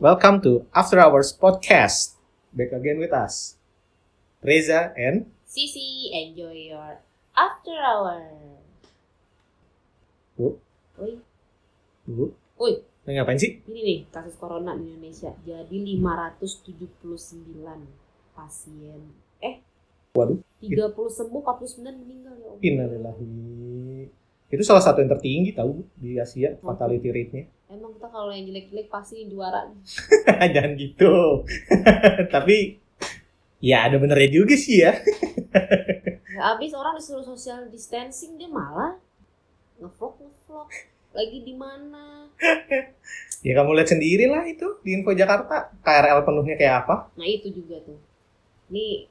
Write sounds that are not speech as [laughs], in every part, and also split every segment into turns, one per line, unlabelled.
Welcome to After Hours Podcast. Back again with us, Reza and
Sisi, enjoy your after hour.
Bu.
Woi,
Bu.
Woi.
Nah, ngapain sih?
ini nih kasus corona di Indonesia. Jadi 579 pasien. Eh,
Waduh.
30 sembuh, 49 meninggal ya Allah.
Innalillahi. Itu salah satu yang tertinggi tahu di
Hmm.
Asia fatality rate-nya. [laughs]
Emang kita kalau yang jelek-jelek pasti juara.
Jangan gitu. [laughs] Tapi ya ada benernya juga sih ya.
Nggak habis orang disuruh social distancing dia malah ngevlog ngevlog lagi di mana.
Ya kamu lihat sendiri lah itu di Info Jakarta. KRL penuhnya kayak apa?
Nah itu juga tuh. Ini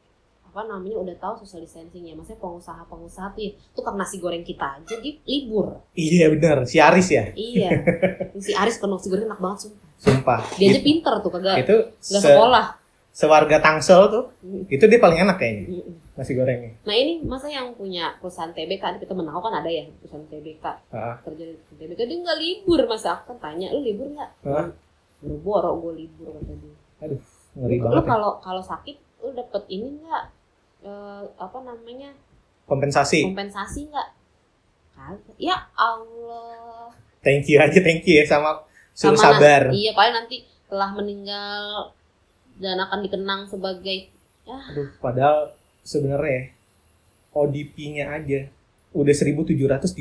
apa namanya udah tahu social distancing ya maksudnya pengusaha-pengusaha tuh ya tukang nasi goreng kita aja dia libur
Iya bener, si Aris ya.
iya
[laughs]
si Aris ke nasi goreng enak banget sumpah
Sumpah.
dia aja pinter tuh kagak
Itu
nggak
Gitu. se-
sekolah
sewarga Tangsel tuh.
Mm,
Itu dia paling enak kayaknya
mm, mm.
nasi gorengnya.
nah ini masa yang punya perusahaan TBK kita menang kan ada ya perusahaan TBK
Ah.
kerja di perusahaan TBK dia nggak libur masa aku kan tanya lu libur nggak
Hah?
boro-boro gue libur kata dia
Ngeri
lu
banget. ya.
kalau kalau sakit lu dapet ini nggak Eh, apa namanya
Kompensasi.
kompensasi nggak Kagak. ya Allah
Thank you aja, thank you ya sama suruh
Sama
sabar.
nanti- iya paling nanti telah meninggal dan akan dikenang sebagai
Aduh, padahal sebenarnya ODP-nya aja udah 1730,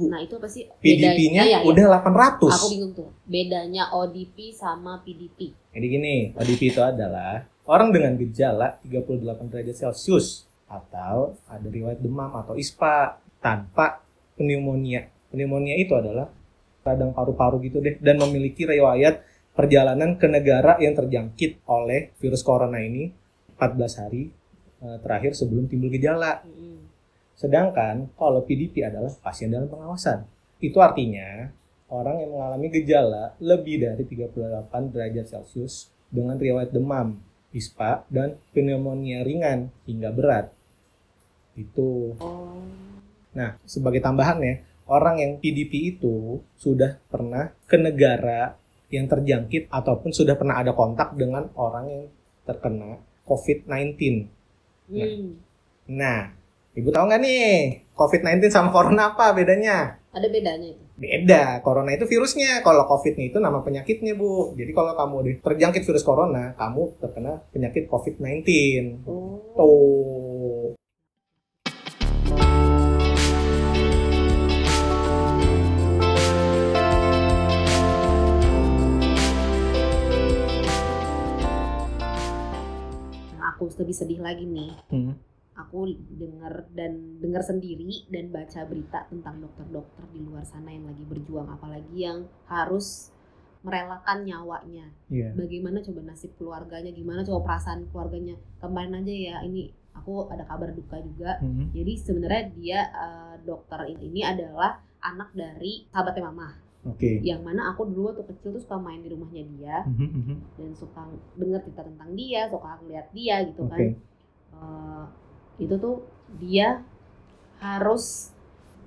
Bu.
nah itu apa sih
PDP-nya
Iya, iya.
udah
aku
800.
bingung tuh bedanya ODP sama PDP
Jadi gini, ODP itu adalah orang dengan gejala 38 derajat Celcius atau ada riwayat demam atau ISPA tanpa pneumonia. Pneumonia itu adalah radang paru-paru gitu deh dan memiliki riwayat perjalanan ke negara yang terjangkit oleh virus corona ini 14 hari eh, terakhir sebelum timbul gejala.
Mm-mm.
Sedangkan kalau PDP adalah pasien dalam pengawasan. Itu artinya orang yang mengalami gejala lebih dari 38 derajat Celcius dengan riwayat demam, ispa, dan pneumonia ringan hingga berat. Itu.
oh
Nah, sebagai tambahannya, orang yang PDP itu sudah pernah ke negara yang terjangkit ataupun sudah pernah ada kontak dengan orang yang terkena COVID-19.
hmm.
Nah, ibu tahu nggak nih COVID-19 sama corona apa bedanya?
ada bedanya itu
Beda, corona itu virusnya, kalau COVID itu nama penyakitnya bu. Jadi kalau kamu udah terjangkit virus corona, kamu terkena penyakit COVID-19.
oh
Tuh.
nah, aku lebih sedih lagi nih
Hmm.
aku dengar dan dengar sendiri dan baca berita tentang dokter-dokter di luar sana yang lagi berjuang apalagi yang harus merelakan nyawanya
Iya.
bagaimana coba nasib keluarganya gimana coba perasaan keluarganya kemarin aja ya ini aku ada kabar duka juga
Hmm.
jadi sebenarnya dia eh, dokter ini adalah anak dari sahabatnya mama
Oke.
yang mana aku dulu waktu kecil tuh suka main di rumahnya dia
Mhm, mhm.
dan suka denger cerita tentang dia suka ngeliat dia gitu kan
Oke.
Eh, itu tuh dia harus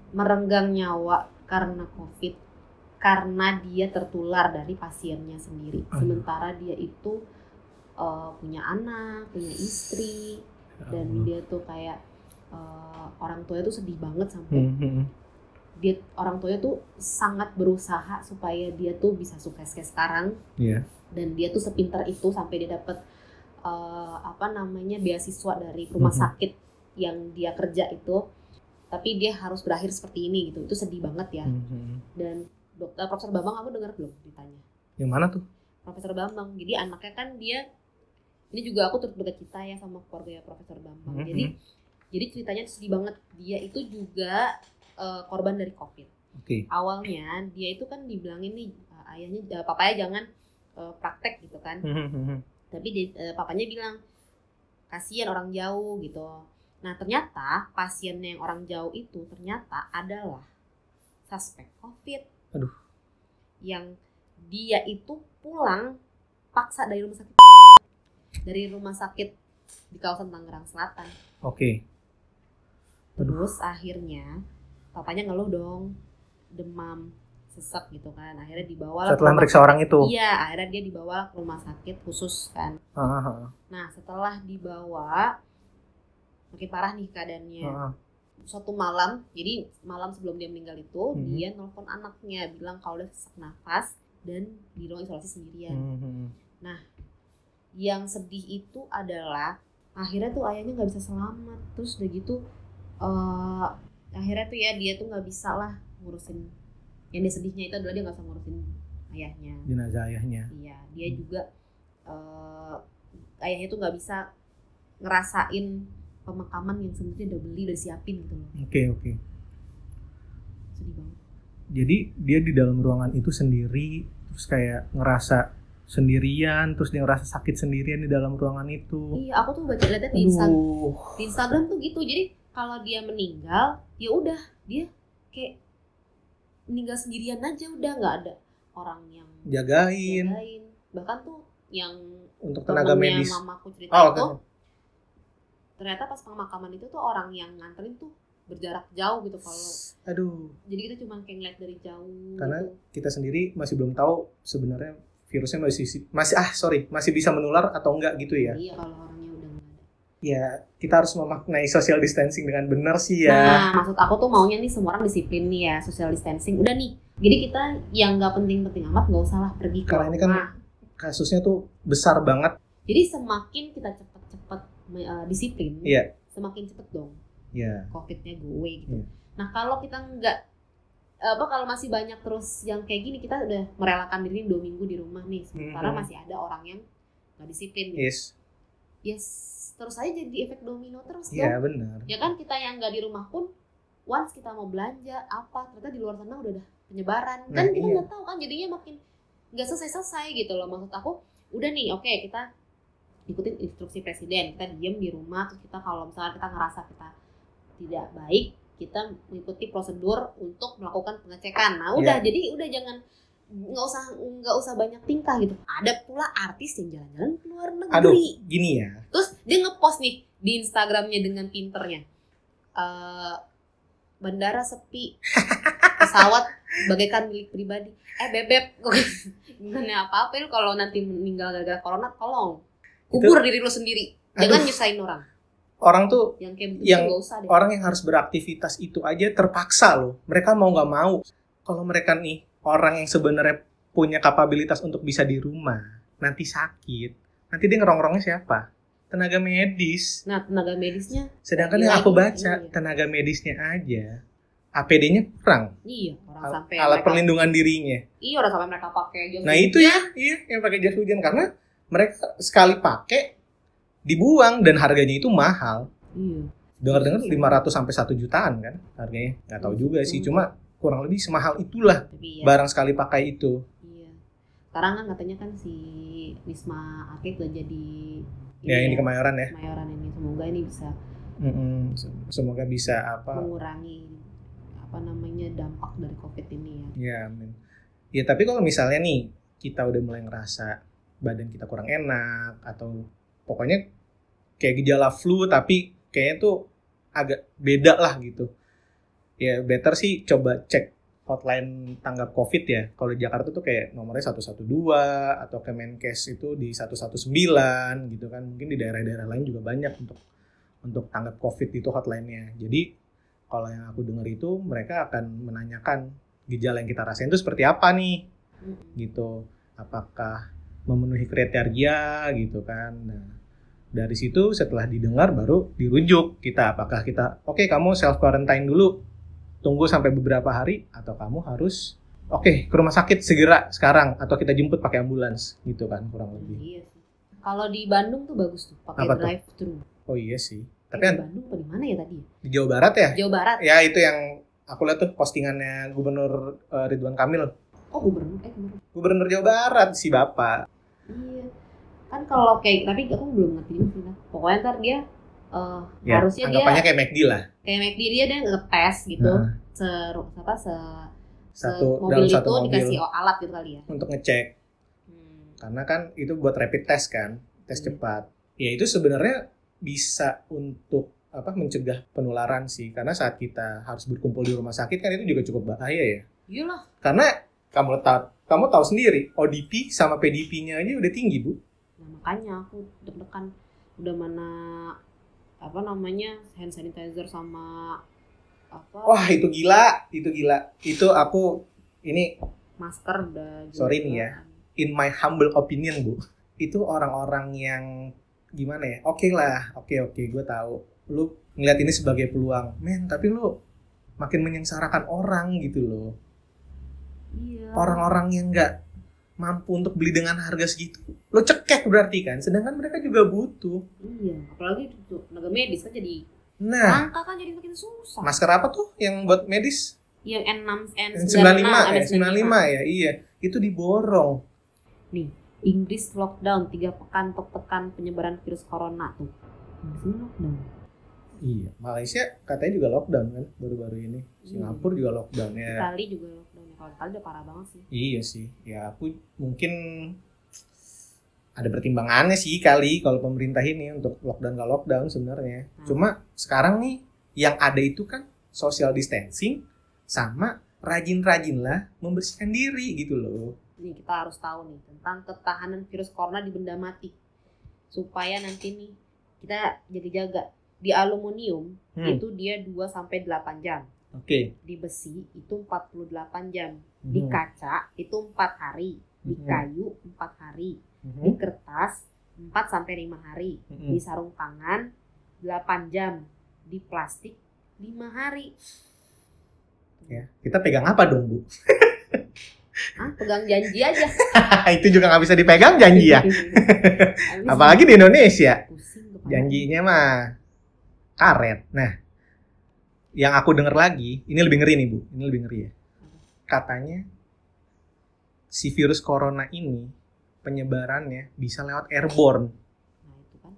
merenggang nyawa karena covid karena dia tertular dari pasiennya sendiri
Aduh.
sementara dia itu eh, punya anak punya istri dan
Hmm,
dia tuh kayak eh, orang tuanya tuh sedih banget sampai
Mhm, mhm.
dia orang tuanya tuh sangat berusaha supaya dia tuh bisa sukses kayak sekarang
Iya.
dan dia tuh sepinter itu sampai dia dapat eh, apa namanya beasiswa dari rumah
Mhm.
sakit yang dia kerja itu tapi dia harus berakhir seperti ini gitu itu sedih banget ya
Mhm.
dan dokter Profesor Bambang aku dengar belum ditanya
Yang mana tuh?
Profesor Bambang jadi anaknya kan dia ini juga aku turut berduka cita ya sama keluarga Profesor Bambang
Mhm.
Oh, jadi jadi ceritanya tuh sedih banget dia itu juga eh, korban dari covid
Oke.
awalnya dia itu kan dibilangin nih eh, ayahnya eh, papanya jangan eh, praktek gitu kan
Mhm, mhm.
tapi di- eh, papanya bilang kasihan orang jauh gitu nah ternyata pasien yang orang jauh itu ternyata adalah suspek covid
Aduh.
yang dia itu pulang paksa dari rumah sakit dari rumah sakit di kawasan Tangerang Selatan
Oke. Aduh.
terus akhirnya papanya ngeluh dong demam sesek gitu kan akhirnya dibawa
Setelah meriksa orang itu.
iya akhirnya dia dibawa ke rumah sakit khusus kan
Heeh, heeh,
nah setelah dibawa makin parah nih keadaannya
heeh.
suatu malam jadi malam sebelum dia meninggal itu
Mhm.
dia nelpon anaknya bilang kalau dia sesak nafas dan di ruang isolasi sendirian
Hmm, hmm.
yang sedih itu adalah akhirnya tuh ayahnya nggak bisa selamat terus udah gitu eh akhirnya tuh ya dia tuh nggak bisa lah ngurusin yang dia sedihnya itu adalah dia nggak bisa ngurusin ayahnya
Jenazah ayahnya.
iya dia juga eh ayahnya tuh nggak bisa ngerasain pemakaman yang sebenarnya udah beli udah siapin gitu loh
Oke, oke.
sedih banget
Jadi dia di dalam ruangan itu sendiri terus kayak ngerasa sendirian, terus dia ngerasa sakit sendirian di dalam ruangan itu.
iya aku tuh baca liatnya di Instagram
Oh. Aduh.
di Instagram tuh gitu jadi kalau dia meninggal ya udah dia kayak meninggal sendirian aja udah nggak ada orang yang
Jagain
jagain bahkan tuh yang
untuk tenaga
temennya
medis.
mamaku cerita
Oh, oke.
itu ternyata pas pemakaman itu tuh orang yang nganterin tuh berjarak jauh gitu kalau
Aduh,
jadi kita cuma kayak ngeliat dari jauh
Karena-
gitu.
kita sendiri masih belum tahu sebenarnya virusnya masih masih ah sorry masih bisa menular atau enggak gitu ya.
iya kalau orangnya udah nggak ada
Ya kita harus memaknai social distancing dengan benar sih ya.
Nah, maksud aku tuh maunya nih semua orang disiplin nih ya, social distancing. Udah nih, jadi kita yang nggak penting-penting amat nggak usah lah pergi ke
Karena ini kan-
rumah.
Kasusnya tuh besar banget.
Jadi semakin kita cepet-cepet me- eh, disiplin,
Iya.
semakin cepet dong
Ya.
COVID-nya gue gitu.
Iya.
Nah kalau kita nggak apa kalau masih banyak terus yang kayak gini kita udah merelakan diri dua minggu di rumah nih, sementara
Mhm.
masih ada orang yang nggak disiplin. gitu.
Yes.
Yes, terus aja jadi efek domino terus
Ya
dong.
benar.
Ya kan kita yang nggak di rumah pun, once kita mau belanja apa ternyata di luar sana udah ada penyebaran.
Nah,
kan kita
iya.
nggak tahu kan jadinya makin nggak selesai-selesai gitu loh maksud aku. Udah nih, oke kita ikutin instruksi presiden, kita diem di rumah terus kita kalau misalnya kita ngerasa kita tidak baik, kita mengikuti prosedur untuk melakukan pengecekan. Nah,
Iya.
udah jadi udah jangan nggak usah nggak usah banyak tingkah gitu. Ada pula artis yang jalan-jalan ke luar negeri.
Aduh, gini ya.
Terus dia ngepost nih di Instagramnya dengan pinternya. Eh bandara sepi, pesawat bagaikan milik pribadi. Eh bebek, [laughs] gimana apa-apa lu kalau nanti meninggal gara-gara corona, tolong kubur diri lu sendiri. Jangan
Aduh.
nyusahin orang.
Orang tuh
Yang kayak begitu
Yang
gak usah deh.
orang yang harus beraktivitas itu aja terpaksa loh. Mereka mau nggak mau. Kalau mereka nih orang yang sebenarnya punya kapabilitas untuk bisa di rumah, nanti sakit, nanti dia ngerongrongnya siapa? Tenaga medis.
Nah tenaga medisnya,
Sedangkan
Lagi-lagi,
yang aku baca
iya.
tenaga medisnya aja APD-nya kurang,
iya orang
Al-
sampai
alat
mereka,
perlindungan dirinya.
iya orang sampai mereka pakai jas
Nah itu ya, iya yang pakai jas hujan karena mereka sekali pakai dibuang dan harganya itu mahal.
Iya.
dengar-dengar 500 sampai 1 jutaan kan harganya nggak tahu juga sih
Hmm.
cuma kurang lebih semahal itulah
Tapi ya,
barang sekali pakai itu
iya. Sekarang kan katanya kan si Wisma Atlet udah jadi
ya yang
ini
di Kemayoran ya
Kemayoran ini semoga ini bisa
Mm-mm. semoga bisa apa
mengurangi apa namanya dampak dari covid ini ya
ya amin. ya tapi kalau misalnya nih kita udah mulai ngerasa badan kita kurang enak atau pokoknya kayak gejala flu tapi kayaknya tuh agak beda lah gitu ya better sih coba cek hotline tanggap covid ya kalau di Jakarta tuh kayak nomornya 112 atau Kemenkes itu di 119 gitu kan mungkin di daerah-daerah lain juga banyak untuk untuk tanggap covid itu hotline-nya jadi kalau yang aku dengar itu mereka akan menanyakan gejala yang kita rasain itu seperti apa nih gitu apakah memenuhi kriteria gitu kan nah dari situ setelah didengar baru dirujuk kita apakah kita oke kamu self quarantine dulu tunggu sampai beberapa hari atau kamu harus oke ke rumah sakit segera sekarang atau kita jemput pakai ambulans gitu kan kurang lebih
iya sih kalau di Bandung tuh bagus tuh pakai
Apa tuh?
drive thru
oh iya sih tapi
Eh, di
kan
Bandung apa di mana ya tadi
di Jawa Barat ya
Jawa Barat
ya itu yang aku lihat tuh postingannya Gubernur eh, Ridwan Kamil
oh gubernur eh gubernur
Gubernur Jawa Barat si bapak
iya kan kalau kayak tapi aku belum ngerti juga sih nah. pokoknya ntar dia eh,
Ya,
harusnya dia
anggapannya kayak McD lah
kayak McD dia dia ngetes gitu
Nah.
seru apa se, se
satu
mobil
dalam
itu
satu mobil
dikasih alat gitu kali ya
untuk ngecek
Hmm.
karena kan itu buat rapid test kan tes
Iya.
cepat ya itu sebenarnya bisa untuk apa mencegah penularan sih karena saat kita harus berkumpul di rumah sakit kan itu juga cukup bahaya ya
iyalah
karena Kamu tahu, kamu tahu sendiri, ODP sama PDP-nya aja udah tinggi, Bu.
Nah, makanya aku deg-degan udah mana apa namanya hand sanitizer sama apa
Wah, itu gila, itu gila. Itu aku ini
masker udah gitu kan. juga.
Sorry nih ya. in my humble opinion, Bu. Itu orang-orang yang gimana ya? Oke lah, oke oke, gue tahu. Lu ngeliat ini sebagai peluang. Men, tapi lu makin menyengsarakan orang gitu loh.
Iya.
orang-orang yang nggak mampu untuk beli dengan harga segitu lo cekek berarti kan sedangkan mereka juga butuh
Iya, apalagi itu tuh tenaga medis kan jadi
nah
langka kan jadi makin susah. Iya,
masker apa tuh yang buat medis
Yang N6 N95
yang 95
ada
ya 95 ya iya itu diborong
Inggris lockdown 3 pekan untuk tekan penyebaran virus corona tuh. Di sini lockdown.
iya Malaysia katanya juga lockdown kan baru-baru ini Singapura juga lockdown ya
Itali juga lockdown. Kalau Itali udah parah banget sih.
Iya sih, ya aku mungkin ada pertimbangannya sih kali kalau pemerintah ini untuk lockdown nggak lockdown sebenarnya.
Hmm.
Cuma sekarang nih yang ada itu kan social distancing sama rajin-rajinlah membersihkan diri gitu loh.
Nih kita harus tahu nih tentang ketahanan virus corona di benda mati. Supaya nanti nih kita jaga-jaga di aluminium
Hmm,
itu dia 2 sampai 8 jam.
Oke.
Di besi itu 48 jam. Di
Hmm,
kaca itu 4 hari. Di
Mhm.
kayu 4 hari. Di
mhm,
kertas 4 sampai 5 hari.
mhm.
Di sarung tangan 8 jam. Di plastik 5 hari.
Ya, kita pegang apa dong bu? [laughs]
Ah, pegang janji aja.
itu juga nggak bisa dipegang janji ya.
[laughs] Habis
Apalagi di Indonesia.
pusing kepala.
janjinya mah karet. Nah, yang aku denger lagi, ini lebih ngeri nih bu, ini lebih ngeri ya. Katanya si virus corona ini penyebarannya bisa lewat airborne.
Nah, itu kan.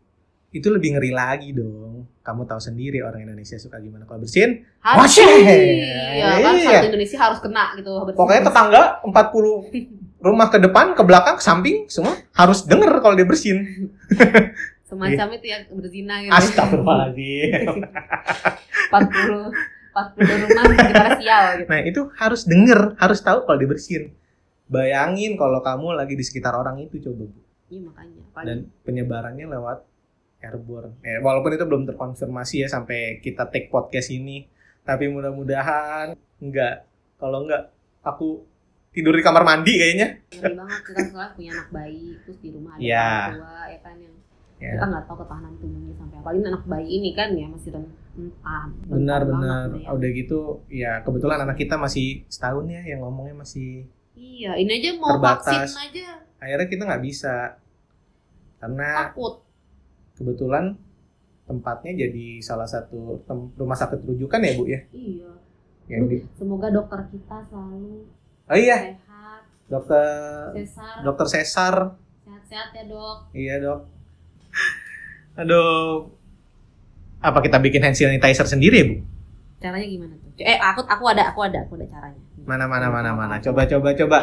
Itu lebih ngeri lagi dong. Kamu tahu sendiri orang Indonesia suka gimana kalau bersin.
Harus
Wah,
iya, kan
iya.
satu Indonesia harus kena gitu. bersih-
Pokoknya tetangga 40 rumah ke depan, ke belakang, ke samping, semua harus denger kalau dia bersin.
semacam itu ya berzina gitu.
Astagfirullahaladzim.
40 40 rumah kita sial gitu.
Nah itu harus denger, harus tahu kalau dibersihin. Bayangin kalau kamu lagi di sekitar orang itu coba Bu.
Iya makanya. Paling
Dan penyebarannya lewat airborne. Eh, walaupun itu belum terkonfirmasi ya sampai kita take podcast ini. Tapi mudah-mudahan enggak. Kalau enggak aku tidur di kamar mandi kayaknya.
ngeri banget kita soalnya punya anak bayi terus di rumah ada
Iya.
orang tua ya kan yang
Iya.
kita nggak tahu ketahanan tubuhnya sampai apalagi anak bayi ini kan ya masih rentan.
Benar-benar.
banget ya.
Udah gitu ya kebetulan anak kita masih setahun ya yang ngomongnya masih.
Iya, ini aja mau
Terbatas.
vaksin aja
Akhirnya kita nggak bisa. Karena
takut.
kebetulan tempatnya jadi salah satu tem- rumah sakit rujukan ya bu ya
Iya.
yang di
Semoga dokter kita selalu
oh iya
sehat,
dokter
sesar,
dokter Cesar
sehat-sehat ya dok.
iya dok aduh apa kita bikin hand sanitizer sendiri ya bu
Caranya gimana tuh? Eh, aku aku ada, aku ada, aku ada caranya.
mana mana mana mana coba coba coba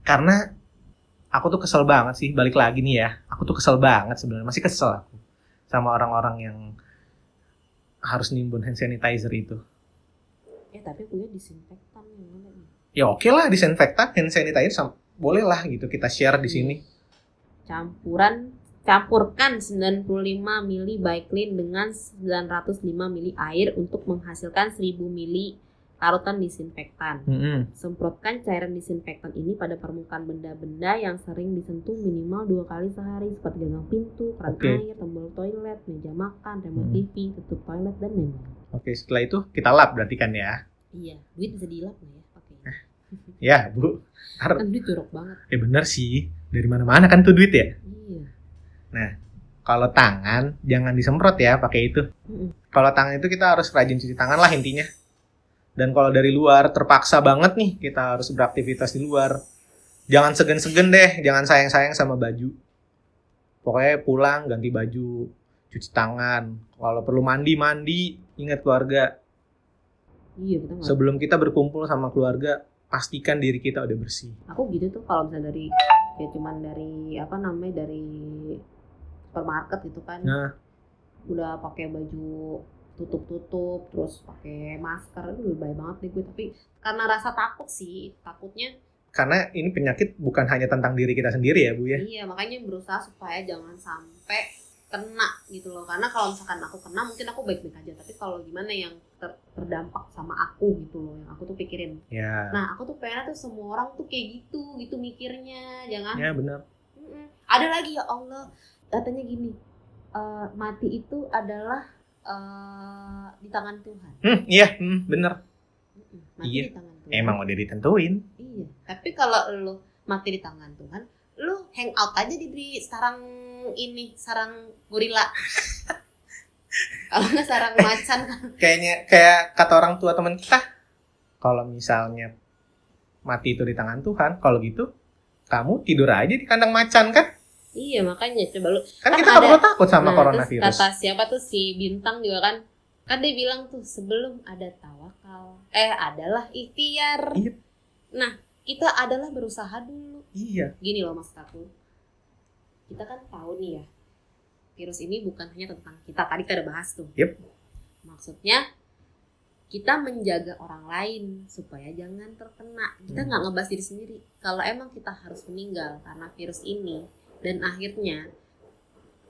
karena aku tuh kesel banget sih balik lagi nih ya aku tuh kesel banget sebenarnya masih kesel aku sama orang-orang yang harus nimbun hand sanitizer itu
Eh, tapi punya disinfektan yang mana nih?
ya oke lah disinfektan hand sanitizer sam- boleh lah gitu kita share di sini
campuran campurkan 95 ml Baiklin dengan 905 ml air untuk menghasilkan 1000 ml larutan disinfektan.
Mm-mm.
Semprotkan cairan disinfektan ini pada permukaan benda-benda yang sering disentuh minimal dua kali sehari seperti gagang pintu, keran
Oke.
air, tombol toilet, meja makan, remote
Hmm.
TV, tutup toilet dan lain-lain.
Oke, setelah itu kita lap berarti kan ya.
Iya, duit bisa dilap nggak
Eh.
ya? Oke.
Ya, Bu.
Kan duit jorok banget.
Ya bener sih. Dari mana-mana kan tuh duit ya.
Iya.
Kalau tangan jangan disemprot ya pakai itu.
Mm-mm.
Kalau tangan itu kita harus rajin cuci tangan lah intinya. Dan kalau dari luar terpaksa banget nih kita harus beraktivitas di luar. Jangan segan-segan deh, jangan sayang-sayang sama baju. Pokoknya pulang ganti baju, cuci tangan. Kalau perlu mandi mandi, ingat keluarga.
Iya, betul nggak?
Sebelum kita berkumpul sama keluarga, pastikan diri kita udah bersih.
aku gitu tuh kalau misalnya dari ya cuman dari apa namanya dari supermarket gitu kan
Nah.
udah pakai baju tutup-tutup terus pakai masker aduh lebay banget nih gue tapi karena rasa takut sih takutnya
karena ini penyakit bukan hanya tentang diri kita sendiri ya bu ya
Iya, makanya berusaha supaya jangan sampai kena gitu loh. Karena kalau misalkan aku kena mungkin aku baik-baik aja, tapi kalau gimana yang ter- terdampak sama aku gitu loh, yang aku tuh pikirin.
ya
Nah, aku tuh pengennya tuh semua orang tuh kayak gitu, gitu mikirnya. Jangan
ya benar
Mm-mm. Ada lagi ya Allah, katanya gini. eh, mati itu adalah eh, di tangan Tuhan.
hmm iya hmm, benar
Mm-mm, Mati
Iya.
di tangan Tuhan.
emang udah ditentuin
Iya, tapi kalau lo mati di tangan Tuhan, lo hang out aja di, di sarang ini, sarang [laughs] gorila. kalau nggak sarang macan kan.
kayaknya kayak kata orang tua teman kita kalau misalnya mati itu di tangan Tuhan kalau gitu kamu tidur aja di kandang macan kan
Iya, makanya coba lo.
kan
Kan
kita nggak
ada-
perlu takut sama
Nah,
coronavirus
Terus kata siapa tuh si Bintang juga kan? Kan dia bilang tuh sebelum ada tawakal, eh adalah ikhtiar.
Iya.
Nah, kita adalah berusaha dulu.
iya
Gini loh mas aku. Kita kan tahu nih ya, virus ini bukan hanya tentang kita. Tadi kita udah bahas tuh.
Yep.
Maksudnya kita menjaga orang lain supaya jangan terkena. Kita
Hmm.
nggak ngebahas diri sendiri. Kalau emang kita harus meninggal karena virus ini dan akhirnya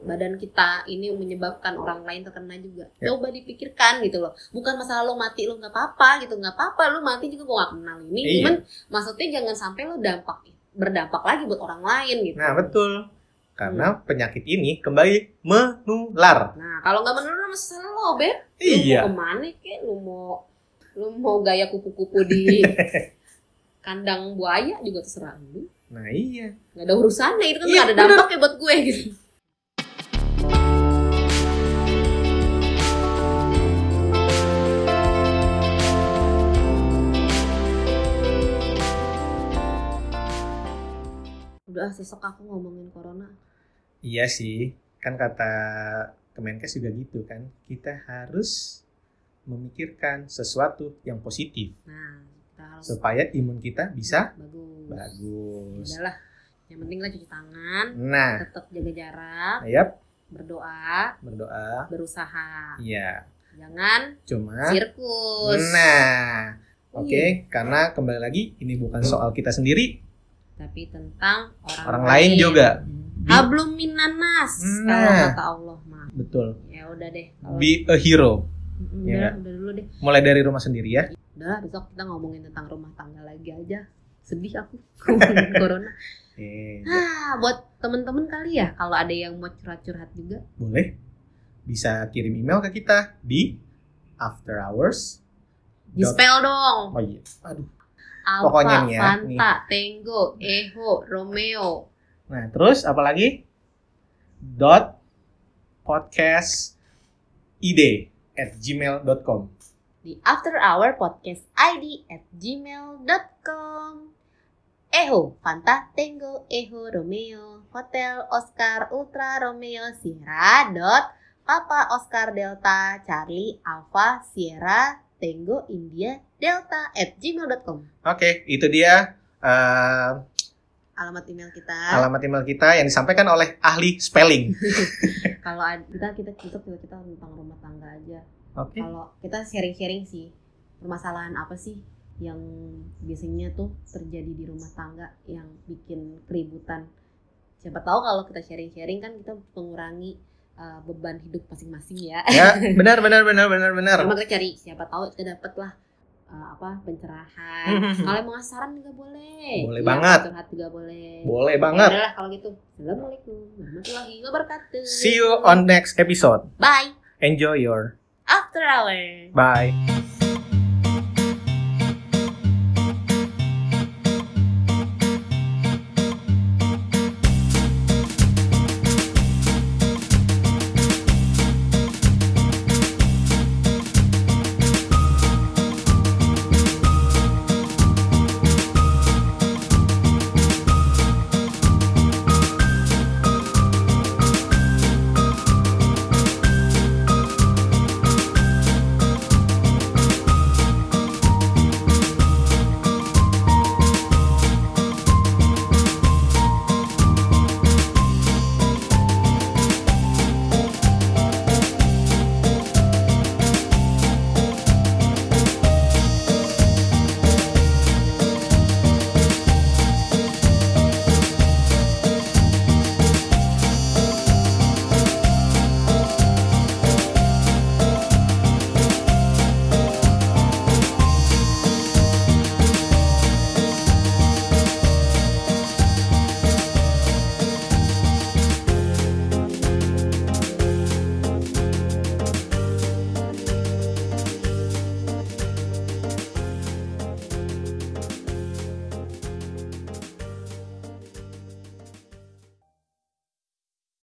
badan kita ini menyebabkan orang lain terkena juga.
Yep.
Coba dipikirkan gitu loh. Bukan masalah lo mati lo nggak apa-apa gitu, nggak apa-apa lo mati juga gue nggak kenal ini.
Iya.
Cuman maksudnya jangan sampai lo dampak berdampak lagi buat orang lain gitu.
nah betul karena penyakit ini kembali menular
Nah, kalau nggak menurut lo masalah lo, Beb.
iya
Lu mau kemana kek? Lu mau lu mau gaya kupu-kupu
[laughs]
di kandang buaya juga terserah lu.
nah iya
Gak ada urusannya itu kan
Iya,
nggak ada
bener.
dampaknya buat gue gitu. Udah ah, sesek aku ngomongin corona.
iya sih kan kata Kemenkes juga gitu kan kita harus memikirkan sesuatu yang positif
Nah, kita harus
supaya imun kita bisa
bagus.
bagus
Udahlah. Yang penting lah cuci tangan,
nah
tetap jaga jarak,
yap
berdoa,
berdoa
berusaha.
Iya,
Jangan
cuma
sirkus.
nah, oke,
Iya.
karena kembali lagi ini bukan soal kita sendiri,
Tapi tentang orang,
orang lain juga. Be-
Hablum minanas kalau
Nah.
kata Allah mah.
betul.
Ya udah deh. Kalau
Be a hero.
Mm,
ya
udah,
nggak?
udah dulu deh.
Mulai dari rumah sendiri ya.
Udah lah, besok kita ngomongin tentang rumah tangga lagi aja. Sedih aku [laughs] ngomongin corona.
Eh,
Ah, buat temen-temen kali ya kalau ada yang mau curhat-curhat juga.
boleh. Bisa kirim email ke kita di after hours.
Di spell dong.
Oh iya. Aduh.
Alpha,
Pokoknya nih ya,
Fanta, Tango, Eho, Romeo.
Nah, terus apalagi? dot podcast id at gmail.com
di After Hour Podcast ID at gmail.com. Eho, Fanta, Tango, Eho, Romeo, Hotel, Oscar, Ultra, Romeo, Sierra, dot, Papa, Oscar, Delta, Charlie, Alpha, Sierra, Tango, India, Delta, at gmail.com.
Oke, itu dia eh,
Alamat email kita.
alamat email kita yang disampaikan oleh ahli spelling.
Kalau ad- kita kita kita kita, kita tentang rumah tangga aja.
Oke.
Kalau kita sharing-sharing sih permasalahan apa sih yang biasanya tuh terjadi di rumah tangga yang bikin keributan. Siapa tahu kalau kita sharing-sharing kan kita mengurangi uh, beban hidup masing-masing ya.
ya benar benar benar benar benar
Sama kita cari siapa tahu kita dapet lah uh, apa pencerahan. kalau mau ngasih saran juga boleh.
Hmm, Boleh
Iya,
banget.
Curhat juga boleh.
boleh
Ya
banget
udah lah kalau gitu. Assalamualaikum warahmatullahi wabarakatuh.
see you on next episode
Bye.
enjoy your
After hour.
bye